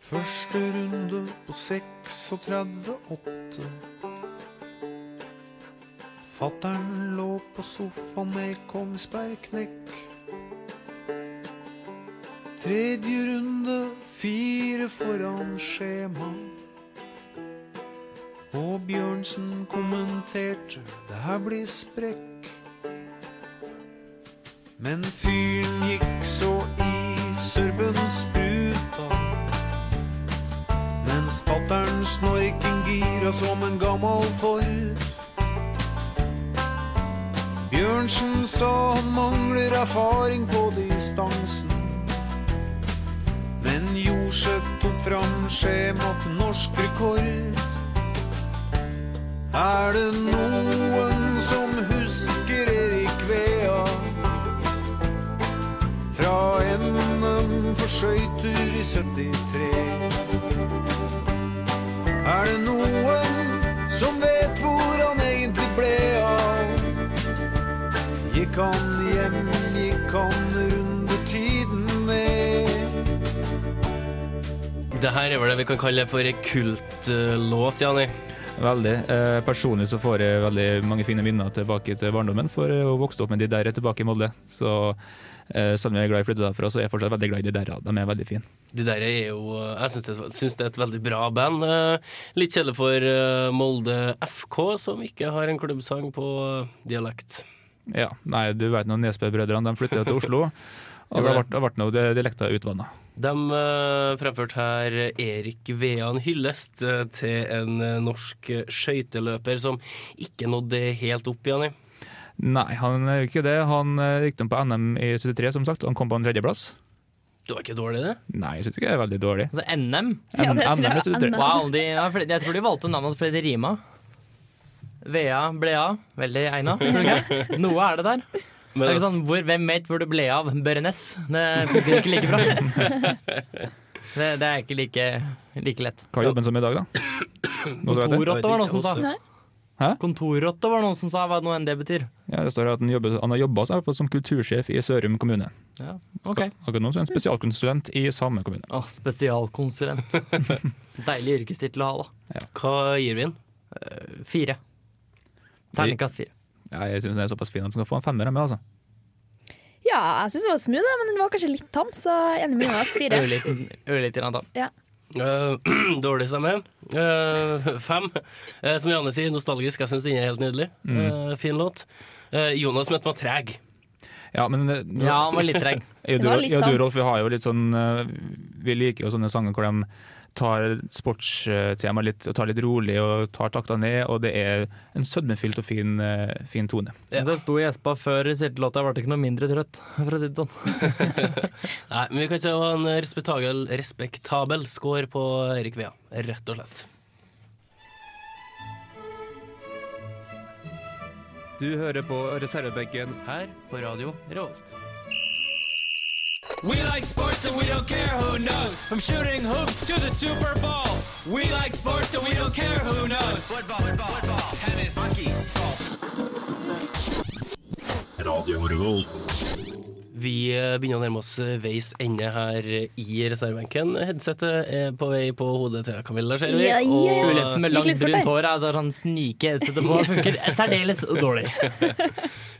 S11: Første runde på 36,8. Fattern lå på sofaen med Kongsbergknekk. Tredje runde, fire foran skjema. Og Bjørnsen kommenterte det her blir sprekk. Men fyren gikk så i surben spruta. Mens fattern snorken gira som en gammal Ford. Bjørnsen sa han mangler erfaring på distansen. Men Jorseth tok fram skjema til norsk rekord. Er det noen som husker Erik Vea? Fra NM for skøyter i 73. Er det noen som vet hvor han egentlig ble av? Gikk han hjem, gikk han rundetiden ned?
S8: Det her er vel det vi kan kalle for en kultlåt, Jani.
S4: Veldig. Eh, personlig så får jeg veldig mange fine minner tilbake til barndommen, for jeg vokste opp med de der tilbake i Molde. Så eh, selv om jeg er glad i å flytte derfra, så er jeg fortsatt veldig glad i de der. De er veldig fine.
S8: De der er jo Jeg syns det, er- syns det er et veldig bra band. Eh, Litt kjedelig for eh, Molde FK, som ikke har en klubbsang på eh, dialekt.
S4: Ja, nei, du vet nå Nesbø-brødrene, de flytter jo til Oslo.
S8: Ja,
S4: Og det
S8: det-
S4: ble, ble nå de- dialekta utvanna.
S8: De eh, fremførte her Erik Vean Hyllest eh, til en eh, norsk skøyteløper som ikke nådde helt opp, Jani.
S4: Nei, han er jo ikke det. Han eh, gikk dem på NM i 73, som sagt. og Han kom på en tredjeplass.
S8: Du var ikke dårlig, det.
S4: Nei, jeg syns ikke det er veldig dårlig.
S5: Altså NM?
S4: Ja, det tror jeg. NM, synes dere?
S5: Wow, de, ja, for jeg tror de valgte navnet fordi det rima. Vea ble av. Veldig egna. Noe er det der.
S8: Men
S5: det er ikke
S8: altså-
S5: sånn, hvor, hvem vet hvor du ble av? Børrenes. Det funker ikke like bra. Det, det er ikke like, like lett.
S4: Hva er jobben som i *coughs* dag, da? Nå skal jeg til.
S5: Kontorrotte var det noen som sa.
S4: Hæ?
S5: Kontorrotte var det noen som sa hva nå enn det betyr.
S4: Ja, det står at han, jobber, han har jobba som kultursjef i Sørum kommune.
S5: Ja, ok.
S4: Akkurat nå så er han spesialkonsulent i samme kommune.
S5: Å, *laughs* spesialkonsulent. Deilig yrkestittel å ha, da.
S8: altså, Hva gir vi den?
S5: Fire. Terningkast fire.
S4: Ja, jeg syns den er såpass fin at den skal få en femmer av meg, altså.
S7: Ja, jeg syns det var smooth, men den var kanskje litt tam, så enig med Jonas.
S4: *laughs*
S7: Fire.
S5: Ørliten, ørliten antam.
S7: Ja.
S8: Eh, *clears throat* dårlig stemme. Eh, fem. Eh, som Janne sier, nostalgisk. Jeg syns den er helt nydelig.
S4: Mm.
S8: Eh, fin låt. Eh, Jonas mente var treg.
S4: Ja, men eh,
S8: Ja, han var
S5: *laughs*
S8: litt treg.
S4: Jeg og du,
S8: Det var litt
S4: jeg og du
S8: da.
S4: Rolf, vi har jo litt sånn eh, Vi liker jo sånne sanger hvor de tar sportstema litt og tar litt rolig og tar takta ned, og det er en sødmefylt og fin, eh, fin tone.
S5: Det sto i Espa før siste låta, jeg ble ikke noe mindre trøtt, for å si det sånn.
S8: Nei, men vi kan se hva en respektabel, respektabel score på Erik Vea, rett og slett.
S3: Du hører på reservebenken
S8: her på Radio Revolt.
S17: We like sports and we don't care who knows. From shooting hoops to the Super Bowl. We like sports and we don't care who knows. Football, football, football, tennis, hockey,
S18: Radio Revolt.
S8: Vi eh, begynner å nærme oss eh, veis ende her i reservebenken. Headsetet er på vei på hodet til Camilla, ser vi.
S5: Ja, ja, ja. Ulempen med langt Gikk litt fort brunt der. hår
S8: er at han sniker headsetet
S5: *laughs* på. Funker særdeles dårlig.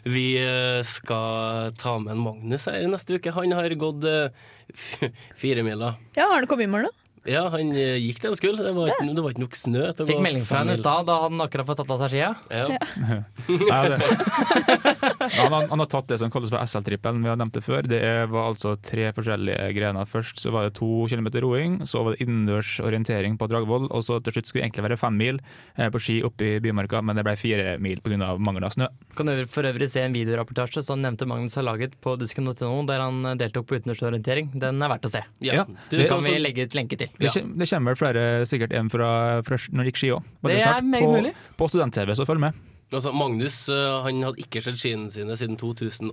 S8: Vi eh, skal ta med en Magnus her neste uke. Han har gått eh, *laughs* f- fire miler.
S7: Ja, har den kommet i mål nå?
S8: Ja, han eh, gikk det han skulle. Det var ikke, det var ikke nok snø. til å
S5: Fikk
S8: gå
S5: melding fra han i
S8: feil.
S5: stad da han akkurat fått tatt av seg skia.
S8: Ja.
S4: Ja, det. Han, han, han har tatt det som kalles for SL-trippelen, vi har nevnt det før. Det er- var altså tre forskjellige grener. Først så var det to kilometer roing, så var det innendørs orientering på Dragvoll, og så til slutt skulle det egentlig være fem mil eh, på ski oppe i Bymarka, men det ble fire mil pga. mangel av snø.
S5: Kan du for øvrig se en videorapportasje som nevnte Magnus har laget på dusken.no, der han eh, deltok på utenriksorientering. Den er verdt å se.
S4: Ja. Ja.
S5: Du,
S4: Det-
S5: kan vi
S4: altså-
S5: legge ut lenke til.
S4: Det, kjem- det kommer vel flere, sikkert en fra, fra når det gikk ski òg.
S8: Det er meget mulig.
S4: På student-TV, så følg med.
S8: Altså, Magnus eh, han hadde ikke sett skiene sine siden 2010,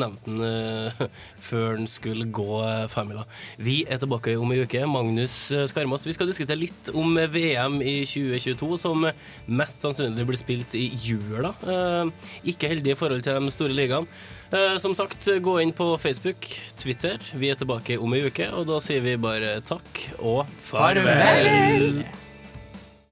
S8: nevnte han eh, før han skulle gå eh, femmila. Vi er tilbake om ei uke. Magnus eh, Skarmås, vi skal diskutere litt om eh, VM i 2022, som eh, mest sannsynlig blir spilt i jula. Eh, Ikke heldig i forhold til de store ligaene. Eh, Som sagt, gå inn på Facebook, Twitter. Vi er tilbake om ei uke, og da sier vi bare takk og farvel!
S5: Farvel!